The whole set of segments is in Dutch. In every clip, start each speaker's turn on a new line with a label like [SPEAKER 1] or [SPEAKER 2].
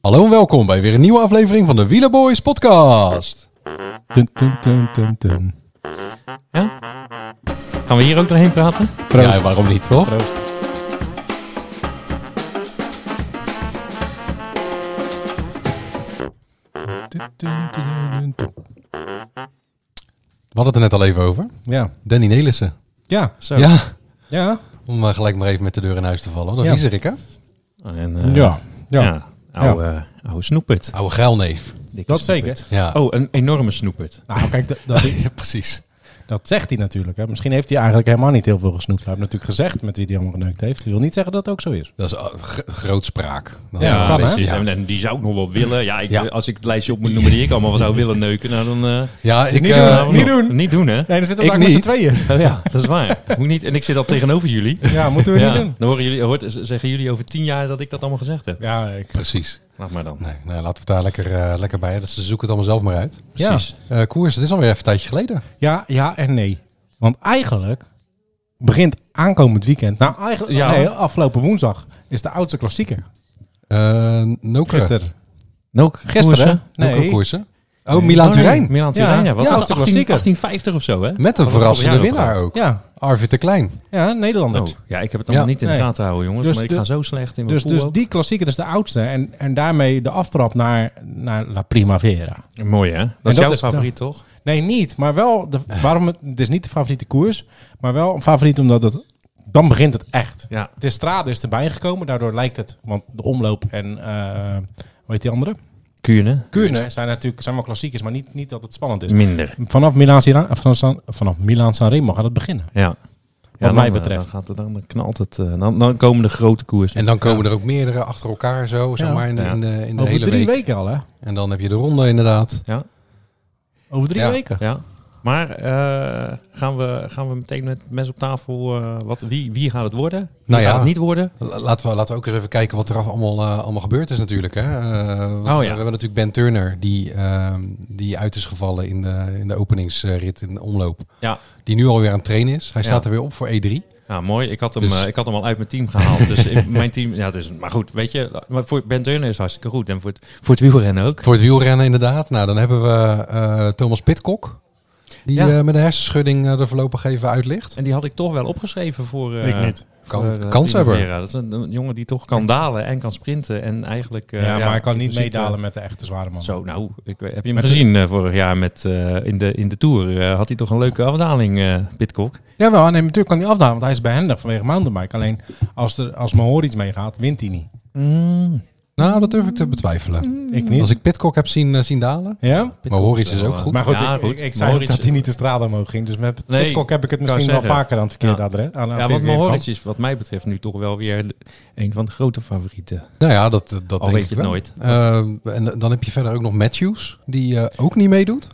[SPEAKER 1] Hallo en welkom bij weer een nieuwe aflevering van de Wielerboys podcast. Dun, dun, dun, dun, dun.
[SPEAKER 2] Ja? Gaan we hier ook doorheen praten?
[SPEAKER 1] Ja, waarom niet toch?
[SPEAKER 2] Proost.
[SPEAKER 1] Dun, dun, dun, dun, dun. We hadden het er net al even over.
[SPEAKER 3] Ja,
[SPEAKER 1] Danny Nelissen.
[SPEAKER 3] ja,
[SPEAKER 2] Zo.
[SPEAKER 1] Ja,
[SPEAKER 3] ja.
[SPEAKER 1] om maar gelijk maar even met de deur in huis te vallen. Dat
[SPEAKER 3] Ja.
[SPEAKER 1] is Rick hè?
[SPEAKER 2] En, eh,
[SPEAKER 3] ja, ja,
[SPEAKER 2] Oude, eh, oude snoepert.
[SPEAKER 1] Oude geilneef.
[SPEAKER 2] Dikke
[SPEAKER 3] dat
[SPEAKER 2] snoepert.
[SPEAKER 3] zeker.
[SPEAKER 1] Ja,
[SPEAKER 2] Oh, een enorme snoepert.
[SPEAKER 3] Nou, kijk, dat, dat,
[SPEAKER 1] ja precies.
[SPEAKER 3] dat zegt hij natuurlijk. Hè. Misschien heeft hij eigenlijk helemaal niet heel veel gesnoept. Hij heeft natuurlijk gezegd met wie hij allemaal geneukt heeft. Dat wil niet zeggen dat het ook zo is.
[SPEAKER 1] Dat is eh, gro- grootspraak. Dat
[SPEAKER 3] Ja,
[SPEAKER 1] is
[SPEAKER 3] kan,
[SPEAKER 1] een
[SPEAKER 3] hè?
[SPEAKER 1] beetje-
[SPEAKER 2] En, en die zou ik nog wel willen. Ja, ik, eh,
[SPEAKER 1] Ja.
[SPEAKER 2] als ik het lijstje op moet noemen die ik allemaal zou willen neuken, nou dan... eh,
[SPEAKER 1] Ja, ik...
[SPEAKER 3] Niet
[SPEAKER 1] eh,
[SPEAKER 3] doen,
[SPEAKER 2] nou,
[SPEAKER 3] niet
[SPEAKER 2] nog-
[SPEAKER 3] doen.
[SPEAKER 2] Niet doen, hè?
[SPEAKER 3] Nee, dan
[SPEAKER 1] Ik
[SPEAKER 3] zitten we vaak met z'n
[SPEAKER 1] niet.
[SPEAKER 3] tweeën.
[SPEAKER 2] Oh ja, dat is waar. Moet niet. En ik zit al tegenover jullie.
[SPEAKER 3] Ja, moeten we
[SPEAKER 2] Ja,
[SPEAKER 3] niet doen.
[SPEAKER 2] dan horen jullie, hoort, zeggen jullie over tien jaar dat ik dat allemaal gezegd heb.
[SPEAKER 3] Ja, ik,
[SPEAKER 1] Precies.
[SPEAKER 2] Laat maar dan.
[SPEAKER 1] Nee, nou, laten we het daar lekker, eh, lekker bij. Dus ze zoeken het allemaal zelf maar uit.
[SPEAKER 3] ja.
[SPEAKER 2] Precies.
[SPEAKER 1] Eh, koers, het is alweer even een tijdje geleden.
[SPEAKER 3] ja, ja en nee. Want eigenlijk begint aankomend weekend. Nou, eigenlijk
[SPEAKER 2] Ja.
[SPEAKER 3] nee, afgelopen woensdag is de oudste klassieker.
[SPEAKER 1] Eh Nokere.
[SPEAKER 3] Gisteren.
[SPEAKER 2] Ook
[SPEAKER 3] Gisteren? hè?
[SPEAKER 1] Nee.
[SPEAKER 3] Nee.
[SPEAKER 1] koersen. Oh, Milaan Turijn.
[SPEAKER 2] Milan Turijn,
[SPEAKER 3] Ja,
[SPEAKER 2] ja. Wat
[SPEAKER 3] ja,
[SPEAKER 2] was
[SPEAKER 3] dat is
[SPEAKER 2] dat?
[SPEAKER 3] de
[SPEAKER 2] 18,
[SPEAKER 3] klassieker.
[SPEAKER 2] 1850 of zo, hè?
[SPEAKER 1] Met een
[SPEAKER 2] Hadden we
[SPEAKER 1] verrassende
[SPEAKER 2] vorig jaar
[SPEAKER 1] winnaar
[SPEAKER 2] over
[SPEAKER 1] ook.
[SPEAKER 3] Ja,
[SPEAKER 1] Arvid de Klein.
[SPEAKER 3] ja Nederlanders.
[SPEAKER 2] Oh, ja, ik heb het allemaal
[SPEAKER 1] Ja.
[SPEAKER 2] niet in de
[SPEAKER 3] Nee.
[SPEAKER 2] gaten houden, jongens.
[SPEAKER 3] Dus
[SPEAKER 2] maar ik
[SPEAKER 3] de-
[SPEAKER 2] ga zo slecht in mijn
[SPEAKER 3] Dus,
[SPEAKER 2] pool
[SPEAKER 3] dus
[SPEAKER 2] ook.
[SPEAKER 3] die klassieker is de oudste. En, en daarmee de aftrap naar, naar La Primavera.
[SPEAKER 2] Mooi, hè? Dat
[SPEAKER 3] dat
[SPEAKER 2] is jouw
[SPEAKER 3] is-
[SPEAKER 2] favoriet, toch?
[SPEAKER 3] Nee, niet. Maar wel, de, waarom het, het is niet de favoriete koers, maar wel een favoriet omdat het, dan begint het echt.
[SPEAKER 2] Ja.
[SPEAKER 3] De strade is erbij gekomen, daardoor lijkt het, want de omloop en, eh hoe heet die andere?
[SPEAKER 2] Kuurne? dus
[SPEAKER 3] Kuurne zijn natuurlijk, zijn wel klassiekers, maar niet, niet dat het spannend is.
[SPEAKER 2] Minder.
[SPEAKER 3] Vanaf Milaan, Sira- van San- vanaf Milaan Sanremo gaat het beginnen.
[SPEAKER 2] Ja. Wat
[SPEAKER 3] mij betreft.
[SPEAKER 2] Dan, gaat het, dan knalt het. eh, dan, dan komen de grote koersen.
[SPEAKER 1] En dan komen er ook meerdere achter elkaar zo, zeg
[SPEAKER 3] Ja.
[SPEAKER 1] maar, in de,
[SPEAKER 2] Ja.
[SPEAKER 1] in de, in de
[SPEAKER 3] Over
[SPEAKER 1] hele
[SPEAKER 3] drie
[SPEAKER 1] week.
[SPEAKER 3] weken al, hè?
[SPEAKER 1] En dan heb je de ronde inderdaad.
[SPEAKER 2] Ja,
[SPEAKER 3] Over drie
[SPEAKER 1] Ja.
[SPEAKER 3] weken.
[SPEAKER 2] ja. Maar eh, gaan, we, gaan we meteen met mes op tafel... eh, wat, wie, wie gaat het worden? Wie
[SPEAKER 1] Nou ja.
[SPEAKER 2] gaat het niet worden?
[SPEAKER 1] La- Laten we, laten we ook eens even kijken wat er af- allemaal, eh, allemaal gebeurd is natuurlijk. Hè? Eh, want
[SPEAKER 2] Oh, ja.
[SPEAKER 1] We hebben natuurlijk Ben Turner, die, ehm, die uit is gevallen in de, in de openingsrit in de omloop.
[SPEAKER 2] Ja.
[SPEAKER 1] Die nu alweer aan het trainen is. Hij
[SPEAKER 2] Ja.
[SPEAKER 1] staat er weer op voor E E3.
[SPEAKER 2] Ja, mooi. Ik had hem,
[SPEAKER 1] Dus-
[SPEAKER 2] eh, ik had hem al uit mijn team gehaald. dus ik- mijn team... Ja, het is, maar goed, weet je... Maar voor Ben Turner is hartstikke goed. En voor het, voor het wielrennen ook.
[SPEAKER 1] Voor het wielrennen inderdaad. Nou, dan hebben we eh, Thomas Pitcock. Die
[SPEAKER 2] Ja.
[SPEAKER 1] eh, met een hersenschudding eh, er voorlopig even uit ligt.
[SPEAKER 2] En die had ik toch wel opgeschreven voor... eh,
[SPEAKER 1] Kan,
[SPEAKER 2] voor, eh,
[SPEAKER 1] kans hebben.
[SPEAKER 2] Primavera. Dat is een, een jongen die toch kan dalen en kan sprinten. En eigenlijk... eh,
[SPEAKER 3] ja, maar hij kan
[SPEAKER 2] in
[SPEAKER 3] niet
[SPEAKER 2] principe-
[SPEAKER 3] meedalen met de echte zware man.
[SPEAKER 2] Zo, nou, ik, weet- heb je hem
[SPEAKER 3] Met de-
[SPEAKER 2] gezien eh, vorig jaar met, eh, in, de, in de Tour? eh, had hij toch een leuke afdaling, eh Pitcock?
[SPEAKER 3] Jawel, nee, natuurlijk kan hij afdalen, want hij is behendig vanwege mountainbike. Alleen als, er, als Mohoric meegaat, wint hij niet.
[SPEAKER 1] Nou, dat durf ik te betwijfelen.
[SPEAKER 2] Mm-hmm.
[SPEAKER 3] Ik
[SPEAKER 1] Als
[SPEAKER 3] niet.
[SPEAKER 1] ik Pitcock heb zien, eh, zien dalen.
[SPEAKER 3] Ja?
[SPEAKER 1] Maar Horits is ook goed.
[SPEAKER 3] Maar goed,
[SPEAKER 2] Ja,
[SPEAKER 3] ik,
[SPEAKER 2] goed.
[SPEAKER 3] ik, ik zei ook
[SPEAKER 2] Mohoric-
[SPEAKER 3] dat hij niet de straat omhoog ging. Dus met
[SPEAKER 2] Nee,
[SPEAKER 3] Pitcock heb ik het
[SPEAKER 2] ik
[SPEAKER 3] misschien
[SPEAKER 2] wou
[SPEAKER 3] wel
[SPEAKER 2] zeggen.
[SPEAKER 3] vaker aan het verkeerde
[SPEAKER 2] Ja.
[SPEAKER 3] adres. Aan, aan
[SPEAKER 2] Ja,
[SPEAKER 3] het
[SPEAKER 2] want
[SPEAKER 3] verkeerde
[SPEAKER 2] Mohoric
[SPEAKER 3] kant.
[SPEAKER 2] is wat mij betreft nu toch wel weer de- een van de grote favorieten.
[SPEAKER 1] Nou ja, dat, dat
[SPEAKER 2] Al
[SPEAKER 1] denk
[SPEAKER 2] weet
[SPEAKER 1] ik
[SPEAKER 2] je
[SPEAKER 1] wel.
[SPEAKER 2] het nooit.
[SPEAKER 1] Eh, en dan heb je verder ook nog Matthews, die eh, ook niet meedoet.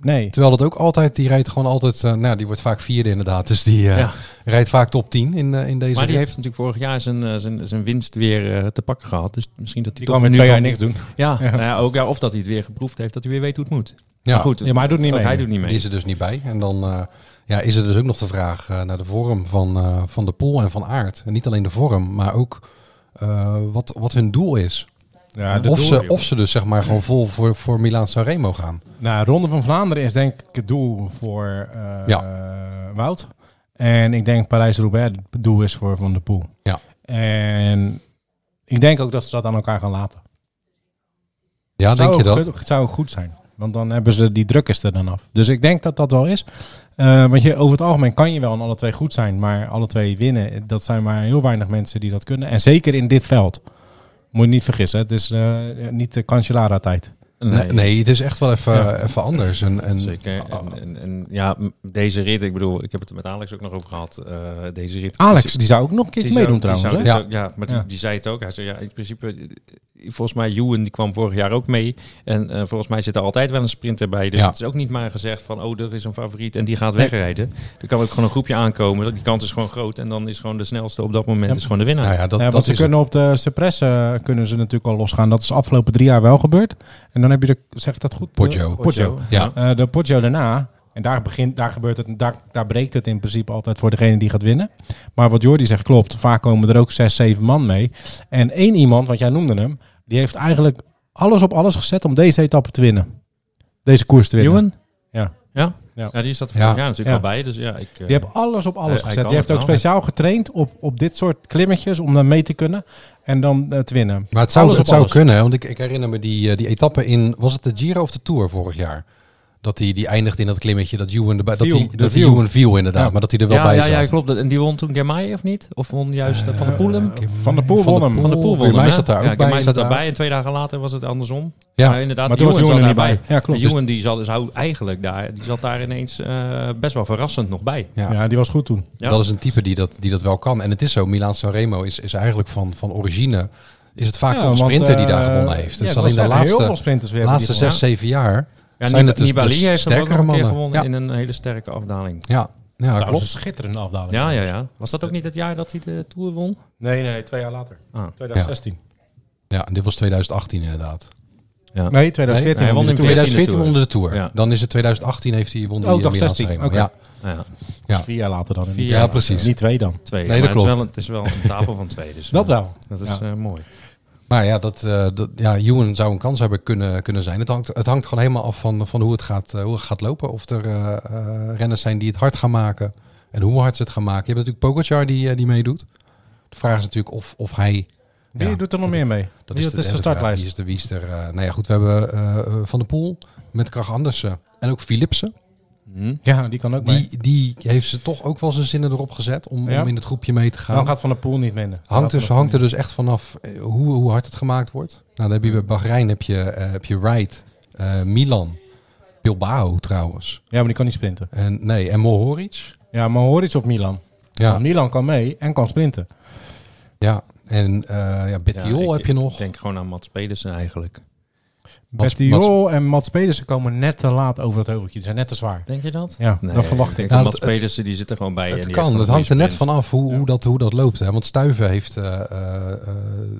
[SPEAKER 3] Nee.
[SPEAKER 1] Terwijl dat ook altijd, die rijdt gewoon altijd, eh, nou die wordt vaak vierde inderdaad. Dus die eh,
[SPEAKER 2] Ja.
[SPEAKER 1] rijdt vaak top 10 in, eh, in deze
[SPEAKER 2] Maar die
[SPEAKER 1] rit.
[SPEAKER 2] heeft natuurlijk vorig jaar zijn, eh, zijn, zijn winst weer eh, te pakken gehad. Dus misschien dat hij
[SPEAKER 3] Die kan
[SPEAKER 2] toch
[SPEAKER 3] weer
[SPEAKER 2] nu
[SPEAKER 3] twee jaar
[SPEAKER 2] van-
[SPEAKER 3] niks doen.
[SPEAKER 2] Ja, nou ja, ook, ja, of dat hij het weer geproefd heeft, dat hij weer weet hoe het moet.
[SPEAKER 1] ja,
[SPEAKER 2] Maar goed,
[SPEAKER 3] Ja, maar hij doet niet
[SPEAKER 2] ook
[SPEAKER 3] mee.
[SPEAKER 2] hij doet niet mee.
[SPEAKER 1] Die is er dus niet bij. En dan eh, ja, is er dus ook nog de vraag eh, naar de vorm van, eh, van de pool en van aard. En niet alleen de vorm, maar ook eh, wat, wat hun doel is.
[SPEAKER 3] Ja, de
[SPEAKER 1] of,
[SPEAKER 3] doel-
[SPEAKER 1] ze, of ze dus zeg maar gewoon vol voor, voor Milaan Sanremo gaan.
[SPEAKER 3] Nou, Ronde van Vlaanderen is denk ik het doel voor eh,
[SPEAKER 1] Ja.
[SPEAKER 3] eh, Wout. En ik denk Parijs-Roubaix het doel is voor Van der Poel.
[SPEAKER 1] Ja.
[SPEAKER 3] En ik denk ook dat ze dat aan elkaar gaan laten.
[SPEAKER 1] Ja, denk je
[SPEAKER 3] Zou
[SPEAKER 1] dat?
[SPEAKER 3] ook goed- zou ook goed zijn. Want dan hebben ze die druk is er dan af. Dus ik denk dat dat wel is. Eh, want je, over het algemeen kan je wel aan alle twee goed zijn. Maar alle twee winnen, dat zijn maar heel weinig mensen die dat kunnen. En zeker in dit veld. Moet je niet vergissen. Het is eh, niet de Cancellara tijd.
[SPEAKER 1] Nee. nee, het is echt wel even, even anders. En, en,
[SPEAKER 2] Zeker. En, en, en ja, m- deze rit, ik bedoel, ik heb het er met Alex ook nog over gehad. eh, deze rit.
[SPEAKER 3] Alex, die zou ook nog een keertje
[SPEAKER 2] Die zou-
[SPEAKER 3] meedoen
[SPEAKER 2] die
[SPEAKER 3] trouwens. hè?
[SPEAKER 2] zou
[SPEAKER 1] hè?
[SPEAKER 2] dit ook- ja. maar die,
[SPEAKER 3] Ja.
[SPEAKER 2] die zei het ook. Hij zei, ja, in principe, eh, volgens mij, Ewan, die kwam vorig jaar ook mee. En eh, volgens mij zit er altijd wel een sprinter bij. Dus
[SPEAKER 1] Ja.
[SPEAKER 2] het is ook niet maar gezegd van, oh, er is een favoriet en die gaat wegrijden. Er kan ook gewoon een groepje aankomen. Die kans is gewoon groot. En dan is gewoon de snelste op dat moment
[SPEAKER 3] Ja.
[SPEAKER 2] is gewoon de winnaar.
[SPEAKER 1] nou ja, dat,
[SPEAKER 3] ja, want
[SPEAKER 1] dat
[SPEAKER 3] ze
[SPEAKER 1] is het.
[SPEAKER 3] kunnen op de suppressen eh, kunnen ze natuurlijk al losgaan. Dat is de afgelopen drie jaar wel gebeurd. En dan heb je de, zeg ik dat goed?
[SPEAKER 1] Poggio.
[SPEAKER 3] Poggio.
[SPEAKER 1] Ja.
[SPEAKER 3] Eh, de Poggio daarna. En daar, begint, daar, gebeurt het, daar, daar breekt het in principe altijd voor degene die gaat winnen. Maar wat Jordi zegt klopt. Vaak komen er ook zes, zeven man mee. En één iemand, want jij noemde hem, Die heeft eigenlijk alles op alles gezet om deze etappe te winnen. Deze koers te winnen.
[SPEAKER 2] Ewan?
[SPEAKER 3] Ja.
[SPEAKER 2] Ja?
[SPEAKER 3] Ja.
[SPEAKER 2] ja. die staat er
[SPEAKER 1] Ja.
[SPEAKER 2] vorig jaar natuurlijk
[SPEAKER 3] Ja.
[SPEAKER 2] wel bij. Dus ja, ik, eh,
[SPEAKER 3] Die heeft alles op alles
[SPEAKER 2] Eh, hij
[SPEAKER 3] gezet.
[SPEAKER 2] kan
[SPEAKER 3] Die heeft
[SPEAKER 2] het
[SPEAKER 3] ook
[SPEAKER 2] wel.
[SPEAKER 3] speciaal getraind op, op dit soort klimmetjes om dan mee te kunnen en dan eh, te winnen.
[SPEAKER 1] Maar het zou,
[SPEAKER 3] Alles op
[SPEAKER 1] het zou
[SPEAKER 3] alles.
[SPEAKER 1] kunnen, hè, want ik, ik herinner me die, eh, die etappe in, was het de Giro of de Tour vorig jaar? Dat die, die eindigde in dat klimmetje, dat Ewan erbij, dat
[SPEAKER 3] Viel,
[SPEAKER 1] die,
[SPEAKER 3] de
[SPEAKER 1] dat die
[SPEAKER 3] viel.
[SPEAKER 1] Ewan viel inderdaad,
[SPEAKER 3] Ja.
[SPEAKER 1] maar dat hij er wel
[SPEAKER 2] ja,
[SPEAKER 1] bij
[SPEAKER 2] ja,
[SPEAKER 1] zat.
[SPEAKER 2] ja, klopt. En die won toen Germay of niet? Of won juist eh, Van der Poel hem?
[SPEAKER 3] Van der Poel
[SPEAKER 1] Van
[SPEAKER 3] won
[SPEAKER 1] der
[SPEAKER 3] hem.
[SPEAKER 1] Poel.
[SPEAKER 2] Van der Poel won
[SPEAKER 1] Germay
[SPEAKER 2] hem, hè?
[SPEAKER 1] zat daar ook
[SPEAKER 2] ja, Germay
[SPEAKER 1] bij,
[SPEAKER 2] zat
[SPEAKER 1] inderdaad.
[SPEAKER 2] daarbij en twee dagen later was het andersom.
[SPEAKER 1] Ja.
[SPEAKER 2] maar inderdaad,
[SPEAKER 3] Maar toen was
[SPEAKER 2] Ewan
[SPEAKER 3] Ewan er
[SPEAKER 2] zat
[SPEAKER 3] niet bij.
[SPEAKER 2] daarbij.
[SPEAKER 3] Ja, klopt.
[SPEAKER 2] En Ewan die zat dus hou- eigenlijk daar, die zat daar ineens eh, best wel verrassend nog bij.
[SPEAKER 1] Ja.
[SPEAKER 3] Ja, die was goed toen.
[SPEAKER 2] Ja.
[SPEAKER 1] Dat is een type die dat, die dat wel kan. En het is zo, Milan Sanremo is, is eigenlijk van, van origine, is het vaak
[SPEAKER 3] Ja,
[SPEAKER 1] toch een
[SPEAKER 3] want,
[SPEAKER 1] sprinter die daar
[SPEAKER 3] eh,
[SPEAKER 1] gewonnen heeft.
[SPEAKER 3] ja,
[SPEAKER 1] Het is
[SPEAKER 3] dat
[SPEAKER 1] alleen de
[SPEAKER 3] zeggen, Heel veel
[SPEAKER 1] laatste,
[SPEAKER 3] sprinters weer. hebben
[SPEAKER 1] laatste
[SPEAKER 3] die gewonnen.
[SPEAKER 1] zes, zeven jaar.
[SPEAKER 2] Ja,
[SPEAKER 1] Zijn het dus-
[SPEAKER 2] Nibali
[SPEAKER 1] dus
[SPEAKER 2] heeft hem ook nog een
[SPEAKER 1] sterkere
[SPEAKER 2] keer
[SPEAKER 1] mannen?
[SPEAKER 2] gewonnen
[SPEAKER 1] Ja.
[SPEAKER 2] in een hele sterke afdaling.
[SPEAKER 1] Ja, ja,
[SPEAKER 3] Trouwens,
[SPEAKER 1] klopt.
[SPEAKER 3] een schitterende afdaling.
[SPEAKER 2] Ja,
[SPEAKER 1] dus-
[SPEAKER 2] ja, ja. Was dat ook niet het jaar dat hij de Tour won?
[SPEAKER 3] Nee, nee, twee jaar later.
[SPEAKER 2] Ah.
[SPEAKER 3] 2016.
[SPEAKER 1] Ja, en dit was 2018 inderdaad.
[SPEAKER 3] Nee, 2014.
[SPEAKER 2] Nee, hij won
[SPEAKER 3] won die
[SPEAKER 2] in de
[SPEAKER 1] 2014
[SPEAKER 2] Tour.
[SPEAKER 1] onder de Tour.
[SPEAKER 2] Ja.
[SPEAKER 1] Dan is het 2018 heeft hij won die
[SPEAKER 3] Oh,
[SPEAKER 1] eh,
[SPEAKER 3] dag
[SPEAKER 1] Milaan
[SPEAKER 3] 16,
[SPEAKER 1] Sanremo.
[SPEAKER 3] oké.
[SPEAKER 1] Ja,
[SPEAKER 2] Ja,
[SPEAKER 3] toen.
[SPEAKER 1] Ja.
[SPEAKER 3] Vier jaar later dan.
[SPEAKER 2] Vier
[SPEAKER 3] Vier
[SPEAKER 2] jaar
[SPEAKER 1] ja,
[SPEAKER 2] later.
[SPEAKER 1] precies.
[SPEAKER 3] Niet twee dan.
[SPEAKER 2] twee.
[SPEAKER 1] Nee, dat
[SPEAKER 2] maar Het is,
[SPEAKER 1] klopt.
[SPEAKER 2] wel, het is wel een tafel van twee. Dus,
[SPEAKER 3] Dat
[SPEAKER 2] eh,
[SPEAKER 3] wel.
[SPEAKER 2] Dat is
[SPEAKER 3] Ja.
[SPEAKER 2] eh, mooi.
[SPEAKER 1] Maar ja, dat, eh dat, ja, Ewan zou een kans hebben kunnen, kunnen zijn. Het hangt, het hangt gewoon helemaal af van, van hoe, het gaat, eh, hoe het gaat lopen. Of er eh, eh, renners zijn die het hard gaan maken. En hoe hard ze het gaan maken. Je hebt natuurlijk Pogacar die, eh, die meedoet. De vraag is natuurlijk of, of hij...
[SPEAKER 3] Wie
[SPEAKER 1] Ja,
[SPEAKER 3] doet er nog meer mee? Dat is,
[SPEAKER 1] de-
[SPEAKER 3] de,
[SPEAKER 1] vraag.
[SPEAKER 3] startlijst.
[SPEAKER 1] Wie is de wie is er? eh, nou ja, goed, we hebben eh, eh, Van der Poel met Krach Andersen. En ook Philipsen.
[SPEAKER 2] Hm?
[SPEAKER 3] Ja, die kan ook mee.
[SPEAKER 1] Die, die heeft ze toch ook wel zijn zinnen erop gezet om,
[SPEAKER 3] Ja.
[SPEAKER 1] om in het groepje mee te gaan.
[SPEAKER 3] Dan gaat Van der Poel niet winnen.
[SPEAKER 1] Hangt,
[SPEAKER 3] Dan
[SPEAKER 1] dus,
[SPEAKER 3] gaat Van
[SPEAKER 1] hangt
[SPEAKER 3] der
[SPEAKER 1] er dus echt vanaf eh, hoe, hoe hard het gemaakt wordt. Nou, dan heb je bij Bahrein heb je, eh, heb je Wright, eh, Milan, Bilbao trouwens.
[SPEAKER 3] Poel- Ja, maar die kan niet sprinten.
[SPEAKER 1] En, nee, en Mohoric.
[SPEAKER 3] Ja, maar hoor iets op Milan.
[SPEAKER 1] Ja,
[SPEAKER 3] Want Milan kan mee en kan sprinten.
[SPEAKER 1] ja. en eh ja, Bettiol
[SPEAKER 2] Ja, ik-
[SPEAKER 1] heb je nog.
[SPEAKER 2] Ik denk gewoon aan Mats Pedersen eigenlijk.
[SPEAKER 1] Mats-
[SPEAKER 3] Bettiol en Mats Pedersen komen net te laat over dat heuveltje. Die zijn net te zwaar.
[SPEAKER 2] Denk je dat?
[SPEAKER 3] Ja, dat verwacht ik.
[SPEAKER 2] denk dat
[SPEAKER 1] Nou,
[SPEAKER 2] Mats
[SPEAKER 1] dat-
[SPEAKER 2] Pedersen eh, die zit er gewoon bij. en
[SPEAKER 1] het
[SPEAKER 2] die
[SPEAKER 1] kan,
[SPEAKER 2] heeft
[SPEAKER 1] het
[SPEAKER 2] gewoon
[SPEAKER 1] hangt er
[SPEAKER 2] een
[SPEAKER 1] net
[SPEAKER 2] goede
[SPEAKER 1] vanaf hoe, hoe, dat, hoe dat loopt. Hè? Want Stuiven heeft eh, eh, eh,